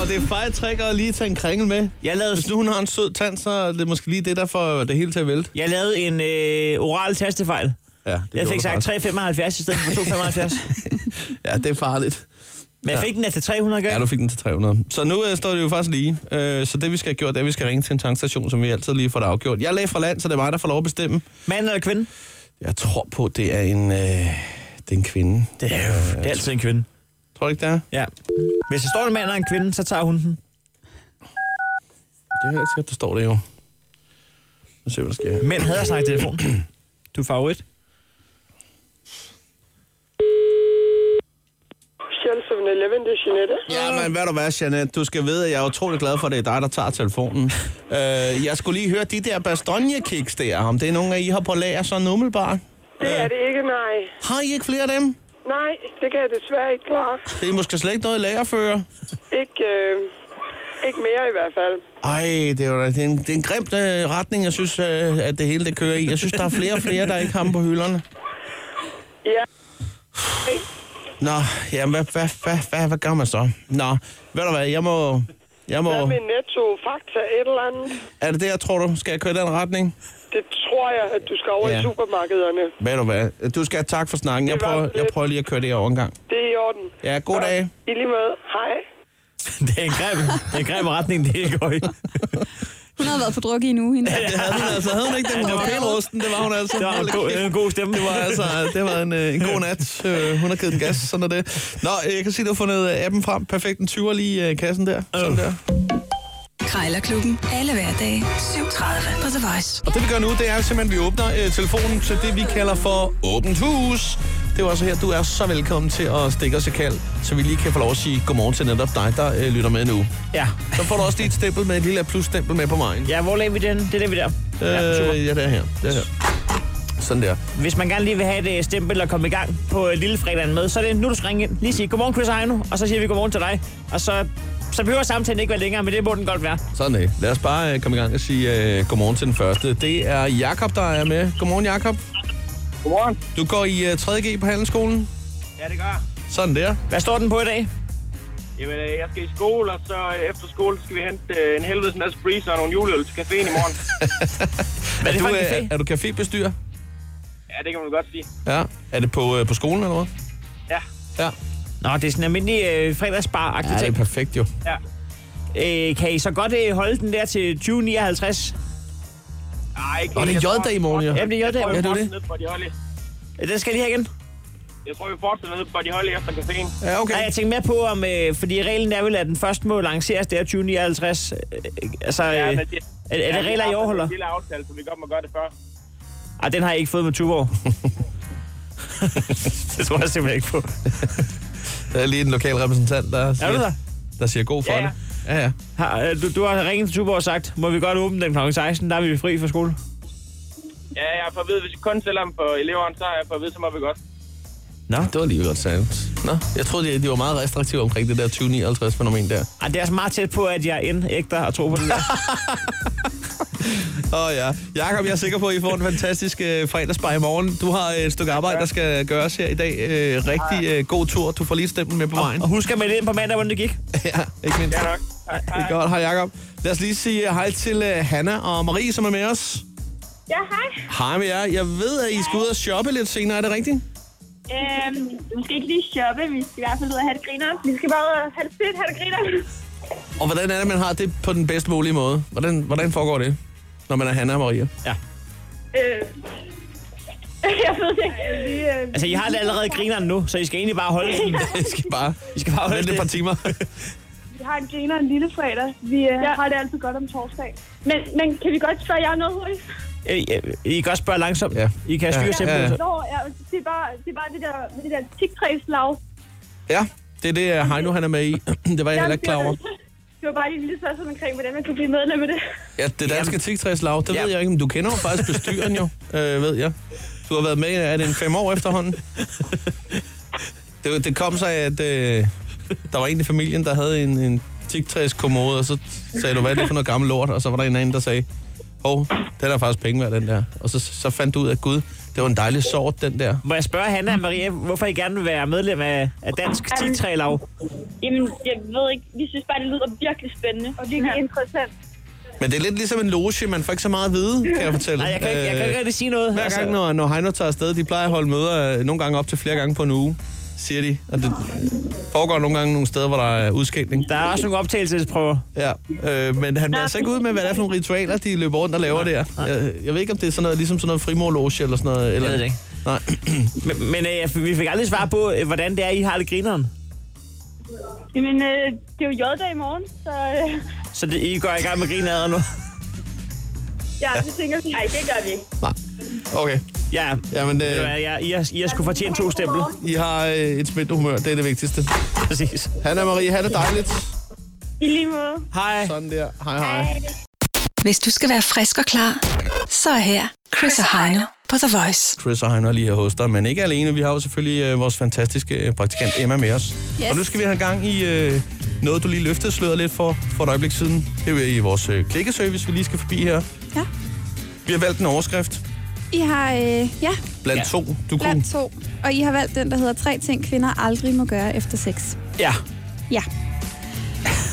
S1: oh, det er fejl trick at lige tage en kringel med.
S2: Jeg lavede,
S1: Hvis nu hun har en sød tand, så er det måske lige det, der får det hele til at vælte.
S2: jeg lavede en øh, oral tastefejl.
S1: Ja, det
S2: Jeg
S1: gjorde
S2: fik
S1: du
S2: sagt
S1: faktisk.
S2: 3,75 i stedet for 2,75.
S1: Ja, det er farligt.
S2: Men jeg fik den altså 300 gange.
S1: Ja, du fik den til 300. Så nu øh, står det jo faktisk lige. Øh, så det, vi skal have gjort, det er, at vi skal ringe til en tankstation, som vi altid lige får det afgjort. Jeg er læge fra land, så det er mig, der får lov at bestemme.
S2: Mand eller kvinde?
S1: Jeg tror på, det er en, øh, det er en kvinde.
S2: Det er, jo, det er altid en kvinde.
S1: Tror du ikke, det er?
S2: Ja. Hvis der står en mand og en kvinde, så tager hun den.
S1: Det er helt sikkert, der står det jo. Nu ser vi, hvad der sker.
S2: Mænd hader at snakke i telefon. Du er favorit.
S7: Shell 7-Eleven, det er Jeanette.
S1: Ja, men hvad du hvad, Jeanette, du skal vide, at jeg er utrolig glad for, at det er dig, der tager telefonen. øh, jeg skulle lige høre de der Bastogne-kiks der, om det er nogen af I har på lager sådan umiddelbart.
S7: Det er det ikke, nej.
S1: Har I ikke flere af dem?
S7: Nej, det kan jeg desværre ikke klare.
S1: Det er måske slet ikke noget, I lagerfører.
S7: Ikke, øh, ikke mere i hvert fald.
S1: Ej, det er, jo da- det er en, det er en grim øh, retning, jeg synes, øh, at det hele det kører i. Jeg synes, der er flere og flere, der ikke har dem på hylderne.
S7: Ja.
S1: Nå, jamen, hvad, hvad, hvad, hvad, hvad gør man så? Nå, ved du hvad, jeg må... Jeg må
S7: Hvad med netto, fakta, et eller andet?
S1: er det det, jeg tror du? Skal jeg køre i den retning?
S7: Det tror jeg, at du skal over
S1: Ja.
S7: i supermarkederne.
S1: Ved du hvad, du skal have tak for snakken. Jeg
S7: Det var
S1: prøver,
S7: lidt.
S1: jeg prøver lige at køre det her overgang.
S7: Det er i orden.
S1: Ja, god dag.
S7: I lige måde. Hej.
S2: Det er en grim, det er en grim retning, det ikke går i.
S4: Hun har været på druk i en uge, hende.
S1: Det havde hun altså. Havde hun ikke den
S2: var-
S1: papirrosten? Det var hun altså.
S2: Det var en god, en god stemme.
S1: Det var altså, det var en, øh, en god nat. Øh, hun har givet den gas, sådan er det. Nå, øh, jeg kan se, du har fundet øh, appen frem. Perfekt, en 20'er lige øh, i kassen der. Sådan der.
S3: Krejlerklubben. Alle hverdage
S10: 7.30.
S3: på The Voice.
S1: Og det vi gør nu, det er simpelthen, at vi åbner øh, telefonen til det, vi kalder for åbent hus. Det er jo også her, du er så velkommen til at stikke os et kald, så vi lige kan få lov at sige godmorgen til netop dig, der øh, lytter med nu.
S2: Ja.
S1: Så får du også lige et stempel med, et lille plus-stempel med på vejen.
S2: ja, hvor lagde vi den? Det er det, vi der. Ja, super.
S1: Øh, ja, det er her. Det er her. Sådan der.
S2: Hvis man gerne lige vil have et øh, stempel og komme i gang på øh, lillefredagen med, så er det nu, du skal ringe ind. Lige sige godmorgen, Chris og Heino, og så siger vi godmorgen til dig. Og så, så behøver samtalen ikke være længere, men det må den godt være.
S1: Sådan det. Lad os bare øh, komme i gang og sige øh, godmorgen til den første. Det er Jakob der er med. Godmorgen, Jakob. Godmorgen. Du går i uh, 3.G på Handelsskolen?
S11: Ja, det gør jeg.
S1: Sådan der.
S2: Hvad står den på i dag?
S11: Jamen, øh, jeg skal i skole, og så øh, efter skole skal vi hente øh, en helvedes masse breezer og nogle juleøl til caféen i morgen.
S1: er,
S11: det
S1: du,
S11: for en
S1: øh,
S11: café?
S1: er du cafébestyrer?
S11: ja, det kan man godt sige.
S1: Ja. Er det på, øh, på skolen eller hvad?
S11: Ja.
S1: Ja.
S2: Nå, det er sådan en almindelig øh, fredagsbar-agtig
S1: Ja, det er perfekt jo.
S11: Ja.
S2: Øh, kan I så godt øh, holde den der til 2059?
S11: Nej, ikke
S1: Nå, det er J-dag i morgen, jo.
S2: Jamen, det er J-dag.
S11: Jeg tror, vi
S2: Ja, det er
S11: fortsætter ned på de holde.
S2: Øh, Den skal lige her igen.
S11: Jeg tror, vi fortsætter ned på de holde efter caféen.
S1: Øh.
S2: Nej, jeg tænkte mere på, om, øh, fordi reglen er vel, at den først må lanceres der 2059. Øh, altså, øh, ja,
S11: Ja,
S2: er,
S11: men
S2: er det regler, I overholder?
S11: Det er en lille aftale, så vi godt må gøre det før.
S2: Ej, den har jeg ikke fået med Tuborg. det tror jeg simpelthen ikke på.
S1: Der er lige en lokal repræsentant, der siger,
S2: der?
S1: der siger god for
S2: Ja, ja.
S1: det. Ja, ja.
S2: Har, øh, du, du har ringet til Tuborg og sagt, må vi godt åbne den kl. 16, der er vi fri fra skole.
S11: Ja, jeg får at vide, hvis vi kun sælger dem for eleverne, så har jeg fået at vide, så må vi godt.
S1: Nå. Det var lige godt sagt. Nå, jeg troede, de, de var meget restriktive omkring det der 2059-fænomen der.
S2: Ej, det er altså meget tæt på, at jeg end ægter og tror på den der.
S1: Åh oh, ja. Jakob, jeg er sikker på, at I får en fantastisk øh, fredagsbar i morgen. Du har øh, et stykke arbejde, der skal gøres her i dag. Øh, rigtig øh, god tur. Du får lige stemmen med på vejen.
S2: og husk at melde ind på mandag, hvordan det gik.
S1: ja, ikke mindst.
S11: Ja, nok.
S1: Det er godt. Hej Jakob. Lad os lige sige øh, hej til øh, Hanna og Marie, som er med os.
S9: Ja, hej.
S1: Hej med jer. Jeg ved, at I skal ud og shoppe lidt senere. Er det rigtigt?
S9: Øhm, vi skal ikke lige shoppe, vi skal i hvert fald ud og have det griner. Vi skal bare ud og have det fedt, have det griner.
S1: Og hvordan er det, man har det på den bedst mulige måde? Hvordan, hvordan foregår det, når man er Hanna og Maria?
S2: Ja.
S9: Øh, jeg ved ikke. Vi, øh,
S2: Altså, I har det allerede grineren nu, så I skal egentlig bare holde den.
S1: I skal bare,
S2: I skal bare holde
S1: vente
S2: det.
S1: et par timer. Altså-
S9: Vi har en griner en lille fredag. Vi øh, ja. har det altid godt om torsdag. Men, men kan vi godt spørge jer noget hurtigt?
S2: Øh, øh, I kan også spørge langsomt. Ja. I kan styre ja.
S9: Ja.
S2: simpelthen.
S9: Nå, ja, det, er bare, det er bare det der, med det der tigtræslag.
S1: Ja, det er det, øh, Heino han er med i. Det var jeg heller ikke klar over.
S9: Det var bare lige en lille spørgsmål omkring, hvordan man kan blive medlem af det.
S1: Ja, det danske tigtræslag, det ved jeg ikke, men du kender jo faktisk bestyren jo, øh, ved jeg. Du har været med, er det en fem år efterhånden? Det, det kom sig, at øh, der var en i familien, der havde en, en tigtræskommode, og så sagde du, hvad er det for noget gammel lort? Og så var der en anden, der sagde, hov, den er faktisk penge værd, den der. Og så, så fandt du ud af, at gud, det var en dejlig sort, den der.
S2: Må jeg spørge Hanna og Maria, hvorfor I gerne vil være medlem af, af Dansk Tigtrælav?
S9: Jamen, jeg ved ikke. Vi synes bare, det lyder virkelig spændende. Og virkelig ja. interessant.
S1: Men det er lidt ligesom en loge, man får ikke så meget at vide, kan jeg fortælle.
S2: Nej, jeg kan ikke- jeg kan
S1: Øh,
S2: ikke rigtig sige noget.
S1: Hver
S2: Altså-
S1: gang, når, når Heino tager afsted, de plejer at holde møder øh, nogle gange op til flere gange på en uge, siger de. Og det foregår nogle gange nogle steder, hvor der er udskældning.
S2: Der er også nogle optagelsesprøver.
S1: Ja, øh, men han vil altså ikke ud med, hvad det er for nogle ritualer, de løber rundt og laver der. Jeg, jeg ved ikke, om det er sådan noget, ligesom sådan noget frimorloge eller sådan noget. Eller...
S2: Jeg ved det ikke.
S1: Nej.
S2: Men, men øh, vi fik aldrig svar på, øh, hvordan det er, I har det grineren.
S9: Jamen, øh, det er jo J-dag i morgen, så øh,
S2: Så det, I går i gang med grineren nu.
S9: ja, vi tænker... Nej, det gør vi ikke.
S1: Okay.
S2: Ja,
S1: Jamen,
S2: øh... jeg, I, har, I har sgu fortjent to stempel.
S1: I har øh, et smidt humør, det er det vigtigste.
S2: Præcis.
S1: Hanna Marie, have det dejligt.
S9: I lige måde.
S2: Hej.
S1: Sådan der. Hej, hej.
S3: Hvis du skal være frisk og klar, så er her Chris og Heino på The Voice.
S1: Chris og Heiner lige her hos dig, men ikke alene. Vi har jo selvfølgelig øh, vores fantastiske øh, praktikant Emma med os.
S4: Yes.
S1: Og nu skal vi have gang i øh, noget, du lige løftede sløret lidt for, for et øjeblik siden. Det er jo i vores øh, klikkeservice, vi lige skal forbi her.
S4: Ja.
S1: Vi har valgt en overskrift
S4: I har, øh, ja,
S1: blandt ja. to. Du kunne.
S4: blandt to. Og I har valgt den, der hedder tre ting, kvinder aldrig må gøre efter sex.
S2: Ja.
S4: Ja.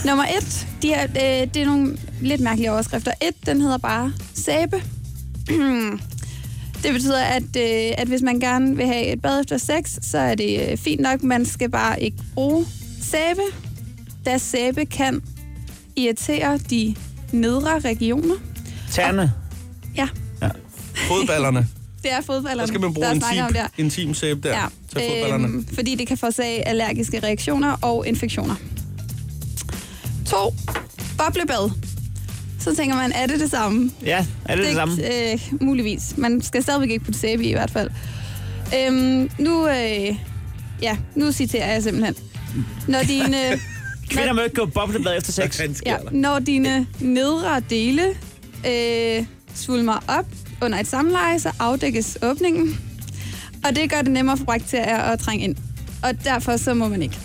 S4: Nummer et, de er, øh, det er nogle lidt mærkelige overskrifter. Et, den hedder bare sæbe. det betyder, at, øh, at hvis man gerne vil have et bad efter sex, så er det øh, fint nok. Man skal bare ikke bruge sæbe, da sæbe kan irritere de nedre regioner.
S2: Terne.
S4: Ja,
S1: Fodballerne.
S4: det er fodballerne,
S1: Der skal man bruge
S4: der er
S1: en
S4: snak om
S1: tip,
S4: der.
S1: en team sæbe der ja. til fodballerne.
S4: Øhm, fordi det kan forårsage allergiske reaktioner og infektioner. 2. Boblebad. Så tænker man, er det det samme?
S2: Ja, er det det, det samme?
S4: Øh, muligvis. Man skal stadigvæk ikke putte sæbe i, i hvert fald. Øhm, nu, øh, ja, nu citerer jeg simpelthen. Når øh, dine,
S2: Kvinder må ikke gå boblebad efter sex.
S4: ja, når dine nedre dele øh, svulmer op under et samleje, så afdækkes åbningen. Og det gør det nemmere for bakterier at trænge ind. Og derfor så må man ikke.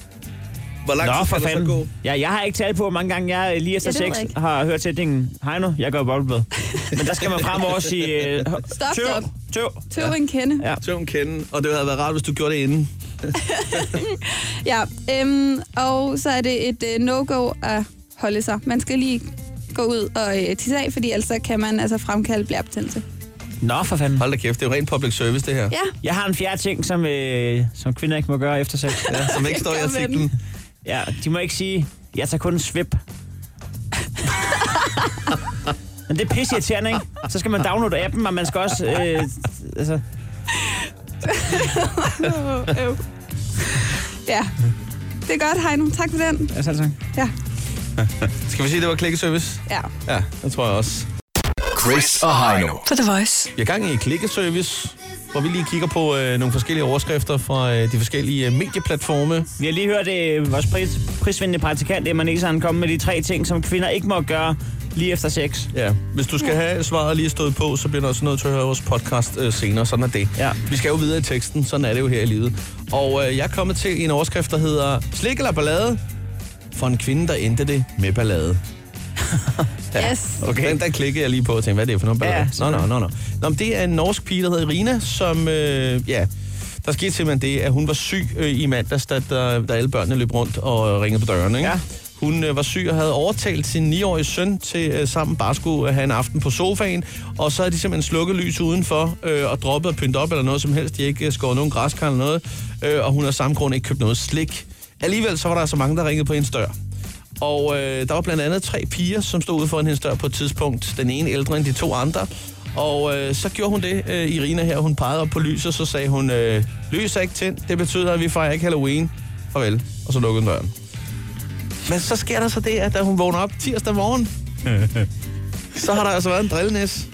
S1: Hvor lang tid skal der så gå?
S2: Ja, jeg har ikke talt på, hvor mange gange jeg lige efter
S1: Ja, det ved
S2: sex
S1: jeg ikke.
S2: har hørt sætningen, hej nu, jeg gør boblebad. Men der skal man fremover sige, øh,
S4: Stop,
S2: tøv,
S4: stop.
S2: tøv.
S4: Tøv en kende.
S2: Ja.
S1: Tøv en kende, og det havde været rart, hvis du gjorde det inden.
S4: Ja, øhm, og så er det et øh, no-go at holde sig. Man skal lige gå ud og øh, tisse af, fordi ellers så kan man altså fremkalde blærebetændelse.
S2: Nå, for fanden.
S1: Hold da kæft, det er jo rent public service, det her.
S4: Ja.
S2: Jeg har en fjerde ting, som, øh, som kvinder ikke må gøre efter sex.
S1: Ja, som ikke står i Kom med artiklen. den.
S2: Ja, de må ikke sige, jeg tager kun en svip. Men det er pisse irriterende, ikke? Så skal man downloade appen, og man skal også... Øh, altså,
S4: Øv. ja, det er godt, Heino. Tak for den.
S1: Altså,
S2: Ja, selv tak.
S4: Ja,
S1: Skal vi sige, det var klikkeservice?
S4: ja.
S1: Ja, det tror jeg også.
S5: Chris og Heino.
S3: På The Voice.
S1: Vi er gang i klikkeservice, hvor vi lige kigger på øh, nogle forskellige overskrifter fra øh, de forskellige øh, medieplatforme.
S2: Vi har lige hørt øh, vores pris, prisvindende praktikant Emma Nissan komme med de tre ting, som kvinder ikke må gøre lige efter sex.
S1: Ja, hvis du skal have svaret lige stået på, så bliver du også nødt til at høre vores podcast øh, senere. Sådan er det.
S2: Ja.
S1: Vi skal jo videre i teksten, sådan er det jo her i livet. Og øh, jeg er kommet til en overskrift, der hedder Slik eller ballade? For en kvinde, der endte det med ballade.
S4: Yes.
S1: Okay. Den der klikkede jeg lige på og tænkte, hvad er det for noget ballade? nå,
S2: Ja,
S1: nå, nå, nå. nå men det er en norsk pige, der hedder Rina, som... Øh, ja, der skete simpelthen det, at hun var syg øh, i mandags, da, da, da alle børnene løb rundt og øh, ringede på døren. Ikke? Ja. Hun øh, var syg og havde overtalt sin 9-årige søn til øh, sammen bare skulle øh, have en aften på sofaen. Og så havde de simpelthen slukket lys udenfor øh, og droppet og pyntet op eller noget som helst. De har ikke øh, skåret nogen græskar eller noget. Øh, og hun har af samme grund ikke købt noget slik. Alligevel så var der så mange, der ringede på hendes dør. Og øh, der var blandt andet tre piger, som stod ude foran hendes dør på et tidspunkt. Den ene ældre end de to andre. Og øh, så gjorde hun det, øh, Irina her. Hun pegede op på lyset, så sagde hun, øh, lys er ikke tændt. Det betyder, at vi fejrer ikke Halloween. Farvel. Og så lukkede hun døren. Men så sker der så det, at da hun vågner op tirsdag morgen, så har der altså været en drillenes.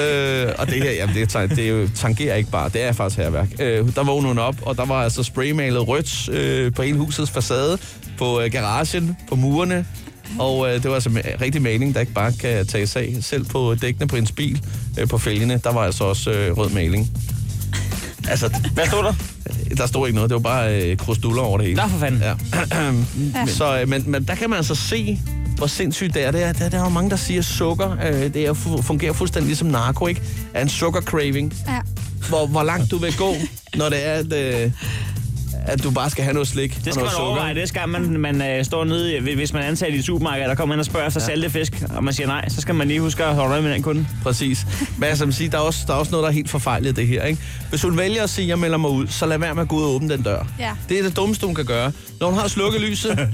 S1: øh, og det her, jamen det, er, det er jo, tangerer ikke bare, det er faktisk herværk. Øh, der vågnede hun op, og der var altså spraymalet rødt øh, på hele husets facade, på øh, garagen, på murene. Og øh, det var altså ma- rigtig maling, der ikke bare kan tage sig af. Selv på dækkene på hendes bil, øh, på fælgene, der var altså også øh, rød maling. Altså,
S2: hvad stod der?
S1: Der stod ikke noget, det var bare øh, krusduller over det hele.
S2: Nå for fanden.
S1: Ja. Men- Så, øh, men, men der kan man altså se, hvor sindssygt det er. Det er der, der er jo mange, der siger, at sukker øh, det er, fu- fungerer fuldstændig ligesom narko, ikke? Er en sukker-craving.
S4: Ja.
S1: Hvor, hvor langt du vil gå, når det er, at, øh, at du bare skal have noget slik
S2: Det
S1: og
S2: skal
S1: noget
S2: man
S1: sukker.
S2: overveje. Det skal man, man øh, står nede, i- hvis man er ansat i et supermarked, og der kommer ind og spørger efter ja. saltefisk, og man siger nej, så skal man lige huske at holde øje med den kunde.
S1: Mm. Præcis. Men altså, man siger, der, er også, der er også noget, der er helt forfejlet i det her. Ikke? Hvis hun vælger at sige, at jeg melder mig ud, så lad være med at gå ud og åbne den dør.
S4: Ja.
S1: Det er det dummeste, hun kan gøre. Når hun har slukket lyset,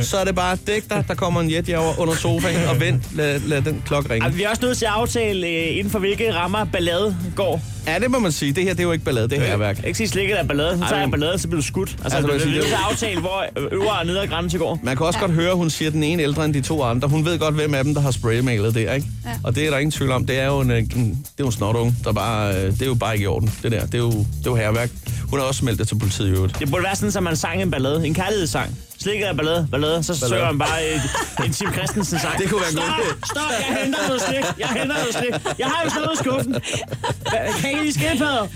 S1: så er det bare dæk dig, der kommer en jetjager under sofaen, og vent, lad, lad den klokke ringe.
S2: Ej, Vi er også nødt til at aftale, øh, inden for hvilke rammer ballade går.
S1: Ja, det må man sige. Det her, det er jo ikke ballade, det her er værk.
S2: Ikke sige slikket af ballade. Nu
S1: Ej,
S2: tager jeg
S1: men-
S2: ballade, så bliver du skudt. Altså,
S1: Altså,
S2: altså
S1: man
S2: vi er
S1: siger,
S2: nødt
S1: det-
S2: til at aftale, hvor øvre og nedre grænse går.
S1: Man kan også godt høre, at hun siger, at den ene ældre end de to andre. Hun ved godt, hvem af dem, der har spraymalet det, ikke? Ja. Og det er der ingen tvivl om. Det er jo en, øh, en, det er jo en snotunge, der bare, øh, det er jo bare ikke i orden, det der. Det er jo, det er jo herværk. Hun har også meldt det til politiet i øvrigt.
S2: Det burde være sådan, at man sang en ballade. En kærlighedssang. Slikket af ballade, ballade. Så
S1: Ballade.
S2: ballade. søger man bare et, en Tim Christensen sang.
S1: Det kunne være
S2: stop,
S1: godt.
S2: stop, jeg henter noget slik. Jeg henter noget slik. Jeg har jo slået i skuffen. Hva- Kan I lige skæbfader?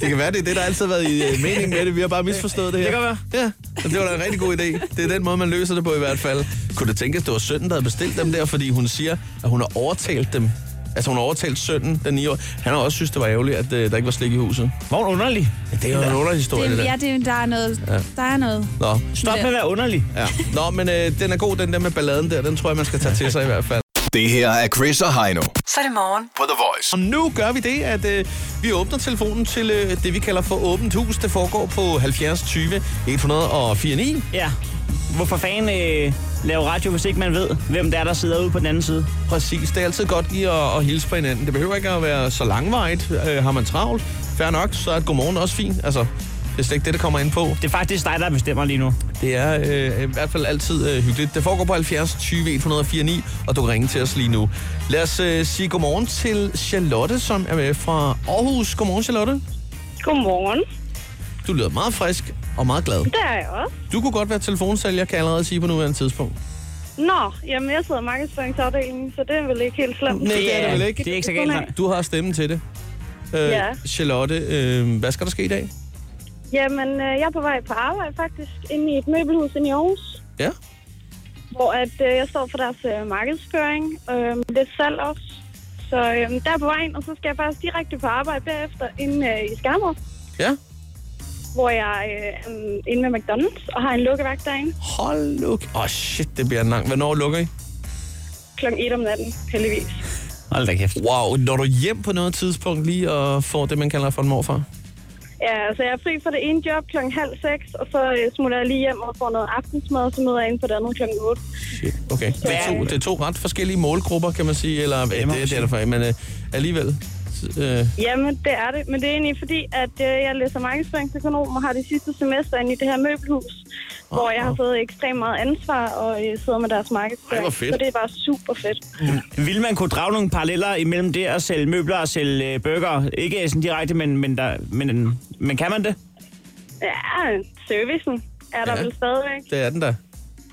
S1: Det kan være, det er det, der altid har været i øh, mening med det. Vi har bare misforstået det her.
S2: Det kan være.
S1: Ja, og det var da en rigtig god idé. Det er den måde, man løser det på i hvert fald. Kunne det tænkes, det var sønnen, der havde bestilt dem der, fordi hun siger, at hun har overtalt dem. Altså, hun har overtalt sønnen, den 9 år. Han har også synes, det var ærgerligt, at øh, der ikke var slik i huset.
S2: Hvor underlig.
S1: Ja, det er jo en underhistorie, det
S4: Det,
S1: der.
S4: ja, det, er- der er noget.
S1: Ja.
S4: Der er noget.
S1: Nå,
S2: Stop med at være underlig.
S1: Ja. Nå, men øh, den er god, den der med balladen der. Den tror jeg, man skal tage til sig i hvert fald.
S5: Det her er Chris og Heino
S6: Så er det morgen.
S5: på The Voice.
S1: Og nu gør vi det, at øh, vi åbner telefonen til øh, det, vi kalder for åbent hus. Det foregår på 70 20 104 9.
S2: Ja. Hvorfor fanden øh, lave radio, hvis ikke man ved, hvem der er, der sidder ude på den anden side?
S1: Præcis, det er altid godt lige at, at hilse på hinanden. Det behøver ikke at være så langvejt. Øh, har man travlt, fair nok, så er et godmorgen også fint. Altså, det er slet ikke det, det kommer ind på.
S2: Det er faktisk dig, der bestemmer lige nu.
S1: Det er øh, i hvert fald altid øh, hyggeligt. Det foregår på 70 20 104 9, og du kan ringe til os lige nu. Lad os øh, sige godmorgen til Charlotte, som er med fra Aarhus. Godmorgen, Charlotte.
S12: Godmorgen.
S1: Du lyder meget frisk og meget glad.
S12: Det er jeg også.
S1: Du kunne godt være telefonsælger, kan jeg allerede sige på nuværende tidspunkt.
S12: Nå, jamen jeg sidder i markedsføringsafdelingen, så det er vel ikke helt slemt.
S1: Nej, det er det vel ikke.
S2: Det er ikke så galt. nej.
S1: Du har stemmen til det. Øh,
S12: Ja.
S1: Charlotte, øh, hvad skal der ske i dag?
S9: Jamen, øh, jeg er på vej på arbejde faktisk, inde i et møbelhus inde i Aarhus.
S1: Ja.
S9: Hvor at, øh, jeg står for deres øh, markedsføring, øh, lidt salg også. Så øh, der er på vejen, og så skal jeg faktisk direkte på arbejde bagefter inde øh, i Skammer.
S1: Ja.
S9: Hvor jeg øh, er inde med McDonald's og har en lukkevagt derinde
S1: Hold nu. Åh, oh, shit, det bliver en lang. Hvornår lukker I?
S9: kl. 1 om natten, heldigvis.
S2: Hold da kæft.
S1: Wow, når du hjem på noget tidspunkt lige og får det, man kalder for en morfar?
S9: Ja, altså jeg er fri fra det ene job kl. halv seks, og så øh, smutter jeg lige hjem og får noget aftensmad, og så møder jeg ind på det andet kl. 8.
S1: Okay, det er, to, det er to ret forskellige målgrupper, kan man sige, eller ja, det, det er derfor, men øh, alligevel. s- Øh,
S9: Jamen, det er det. Men det er egentlig fordi, at øh, jeg læser markedsføringsøkonom og har det sidste semester inde i det her møbelhus, oh, hvor jeg har fået ekstremt meget ansvar og øh, sidder med deres markedsføring.
S2: Ej, hvor fedt.
S9: Så det er bare super fedt.
S2: Vil man kunne drage nogle paralleller imellem det at sælge møbler og sælge øh, burger? Ikke sådan direkte, men, men, der, men, men kan man det?
S9: Ja, servicen er der
S2: Ja.
S9: ja. vel stadigvæk.
S1: det er den der.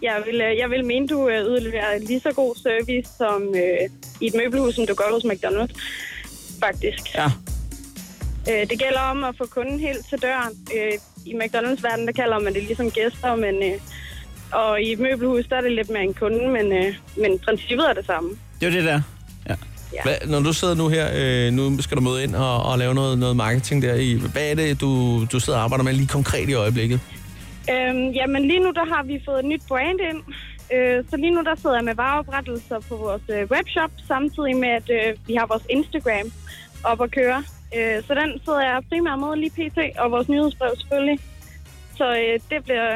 S9: Jeg vil, øh, jeg vil mene, du øh, yderleverer lige så god service som øh, i et møbelhus, som du gør hos McDonald's, faktisk.
S2: Ja.
S9: Øh, det gælder om at få kunden helt til døren. Øh, I McDonald's-verden, der kalder man det ligesom gæster, men, øh, og i et møbelhus, der er det lidt mere en kunde, men, øh, men princippet er det samme.
S2: Det er jo det der.
S1: Ja. Hvad, når du sidder nu her, øh, nu skal du møde ind og, og lave noget, noget marketing der i. Hvad er det, du, du sidder og arbejder med lige konkret i øjeblikket?
S9: Øhm, jamen lige nu, der har vi fået et nyt brand ind. Øh, så lige nu, der sidder jeg med vareoprettelser på vores øh, webshop, samtidig med, at øh, vi har vores Instagram op at køre. Øh, så den sidder jeg primært med lige pt, og vores nyhedsbrev selvfølgelig. Så øh, det bliver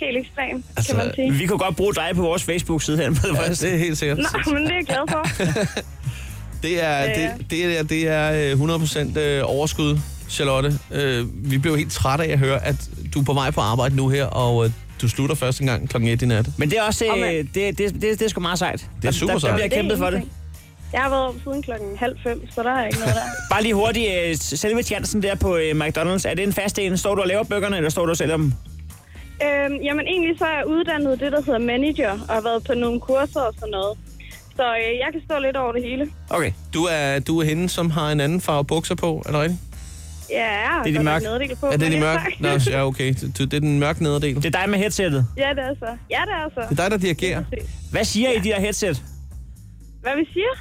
S9: helt ekstremt, altså, kan man sige.
S2: Vi kunne godt bruge dig på vores Facebook-side her. Ja,
S1: det er helt sikkert.
S9: Nå, men det er jeg glad for.
S1: Det er,
S9: Ja.
S1: det, det er, det er øh, 100% øh, overskud, Charlotte. Øh, vi blev helt trætte af at høre, at du er på vej på arbejde nu her, og øh, du slutter første gang klokken 1 i nat.
S2: Men det er også,
S9: Åh,
S2: øh,
S9: mand.
S2: det, det, det, det er sgu meget sejt.
S1: Det er super
S2: der, der,
S1: sejt.
S2: der bliver kæmpet for det.
S9: Jeg har været op siden klokken halv fem, så der er ikke noget der.
S2: Bare lige hurtigt, øh, selve tjansen der på øh, McDonald's, er det en fast en? Står du og laver bøgerne, eller står du og sælger dem?
S9: Øhm, jamen egentlig så er jeg uddannet det, der hedder manager, og har været på nogle kurser og sådan noget. Så øh, jeg kan stå lidt over det hele.
S2: Okay.
S1: Du er, du er hende, som har en anden farve bukser på, er det rigtigt?
S9: Ja, jeg har
S1: det er
S9: godt
S1: de
S9: nok
S1: mørke.
S9: neddel på,
S1: er det
S9: men
S1: de mørke?
S9: tak.
S1: Nå, ja, okay. Det, det er den mørke nederdel. Det
S2: er dig med headsettet.
S9: ja, det er så. Ja, det er så.
S1: Det er dig, der dirigerer.
S2: Hvad siger I, de der headset?
S9: Hvad vi siger?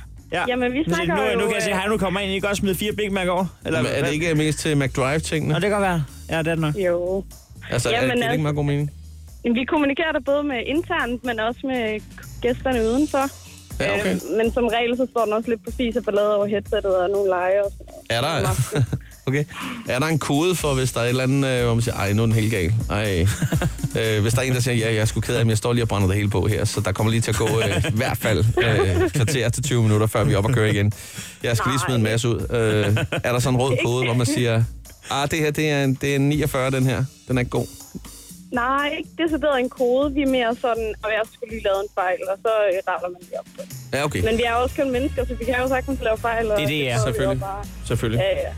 S9: Jamen, vi snakker
S2: nu,
S9: jo...
S2: Nu kan jeg se,
S9: øh,
S2: at nu kommer ind, I kan også smide fire Big Mac over. Eller,
S1: Eller, er det ikke mest til McDrive-tingene?
S2: Nå, det kan godt være. Ja, det er det nok.
S9: Jo.
S1: Altså, er,
S9: Jamen,
S1: giver det ikke
S9: altså-
S1: meget god mening?
S9: Jamen, vi kommunikerer der både med internt, men også med gæsterne udenfor.
S1: Ja, okay.
S9: Øhm, men som regel, så står den også lidt præcis og ballade over headsettet og nogle lege og sådan noget.
S1: Er der, okay. er der en kode for, hvis der er et eller andet, øh, hvor man siger, ej, nu er den helt gal. Ej. øh, hvis der er en, der siger, ja, jeg er sgu ked af, men jeg står lige og brænder det hele på her, så der kommer lige til at gå øh, i hvert fald øh, kvarter til 20 minutter, før vi er op og kører igen. Jeg skal lige smide en masse ud. Øh, er der sådan en rød kode, hvor man siger, ah, det her, det er, en, det er en 49, den her. Den er ikke god.
S9: Nej, ikke decideret en kode. Vi er mere sådan, og jeg skulle lige lave en fejl, og så øh, retter man lige op på det.
S1: Ja, okay.
S9: Men vi er jo også kun mennesker, så vi kan jo sagtens lave fejl. Og
S1: Det er det, ja.
S9: prøver vi jo
S1: Selvfølgelig.
S9: bare.
S1: Selvfølgelig.
S9: Ja, ja.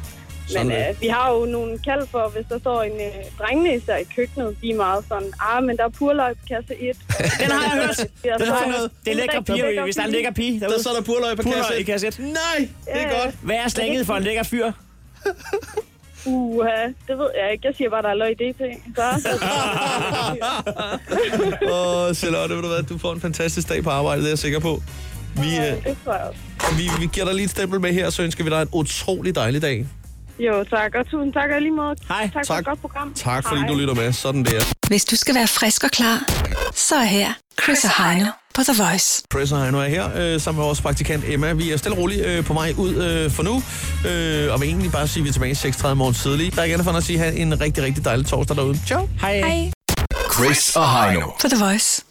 S1: Sådan
S9: Men
S1: er det.
S9: øh, vi har jo nogle kald for, hvis der står en øh, drengene især i køkkenet, de er meget sådan, ah, men der er purløg på kasse 1.
S2: Den har jeg hørt. Den har jeg hørt. Det er lækre piger, hvis der er en lækker pige derude.
S1: Der så der purløg på
S2: Purløg
S1: kasset.
S2: i kasset.
S1: Nej,
S9: det er Ja, ja. godt.
S2: Hvad er slanget for en lækker fyr?
S9: Uha, det ved jeg ikke. Jeg siger bare, der er løg i det ting. Så,
S1: Åh, Charlotte, ved du hvad, du får en fantastisk dag på arbejde, det er jeg sikker på. Vi, øh,
S9: det tror jeg også.
S1: vi, vi giver dig lige et stempel med her, og så ønsker vi dig en utrolig dejlig dag.
S9: Jo, tak. Og tusind tak og i lige måde.
S2: Hej.
S9: Tak, for et godt program.
S1: Tak fordi du lytter med. Sådan der.
S3: Hvis du skal være frisk og klar, så er her Chris og Heino på The Voice.
S1: Chris og Heino er her, øh, sammen med vores praktikant Emma. Vi er stille og roligt øh, på vej ud øh, for nu, øh, og vil egentlig bare sige, at vi er tilbage i 6.30 morgen tidlig. Der er gerne for at sige, at have en rigtig, rigtig dejlig torsdag derude. Ciao.
S2: Hej.
S3: Hej.
S5: Chris og Heino.
S3: På The Voice.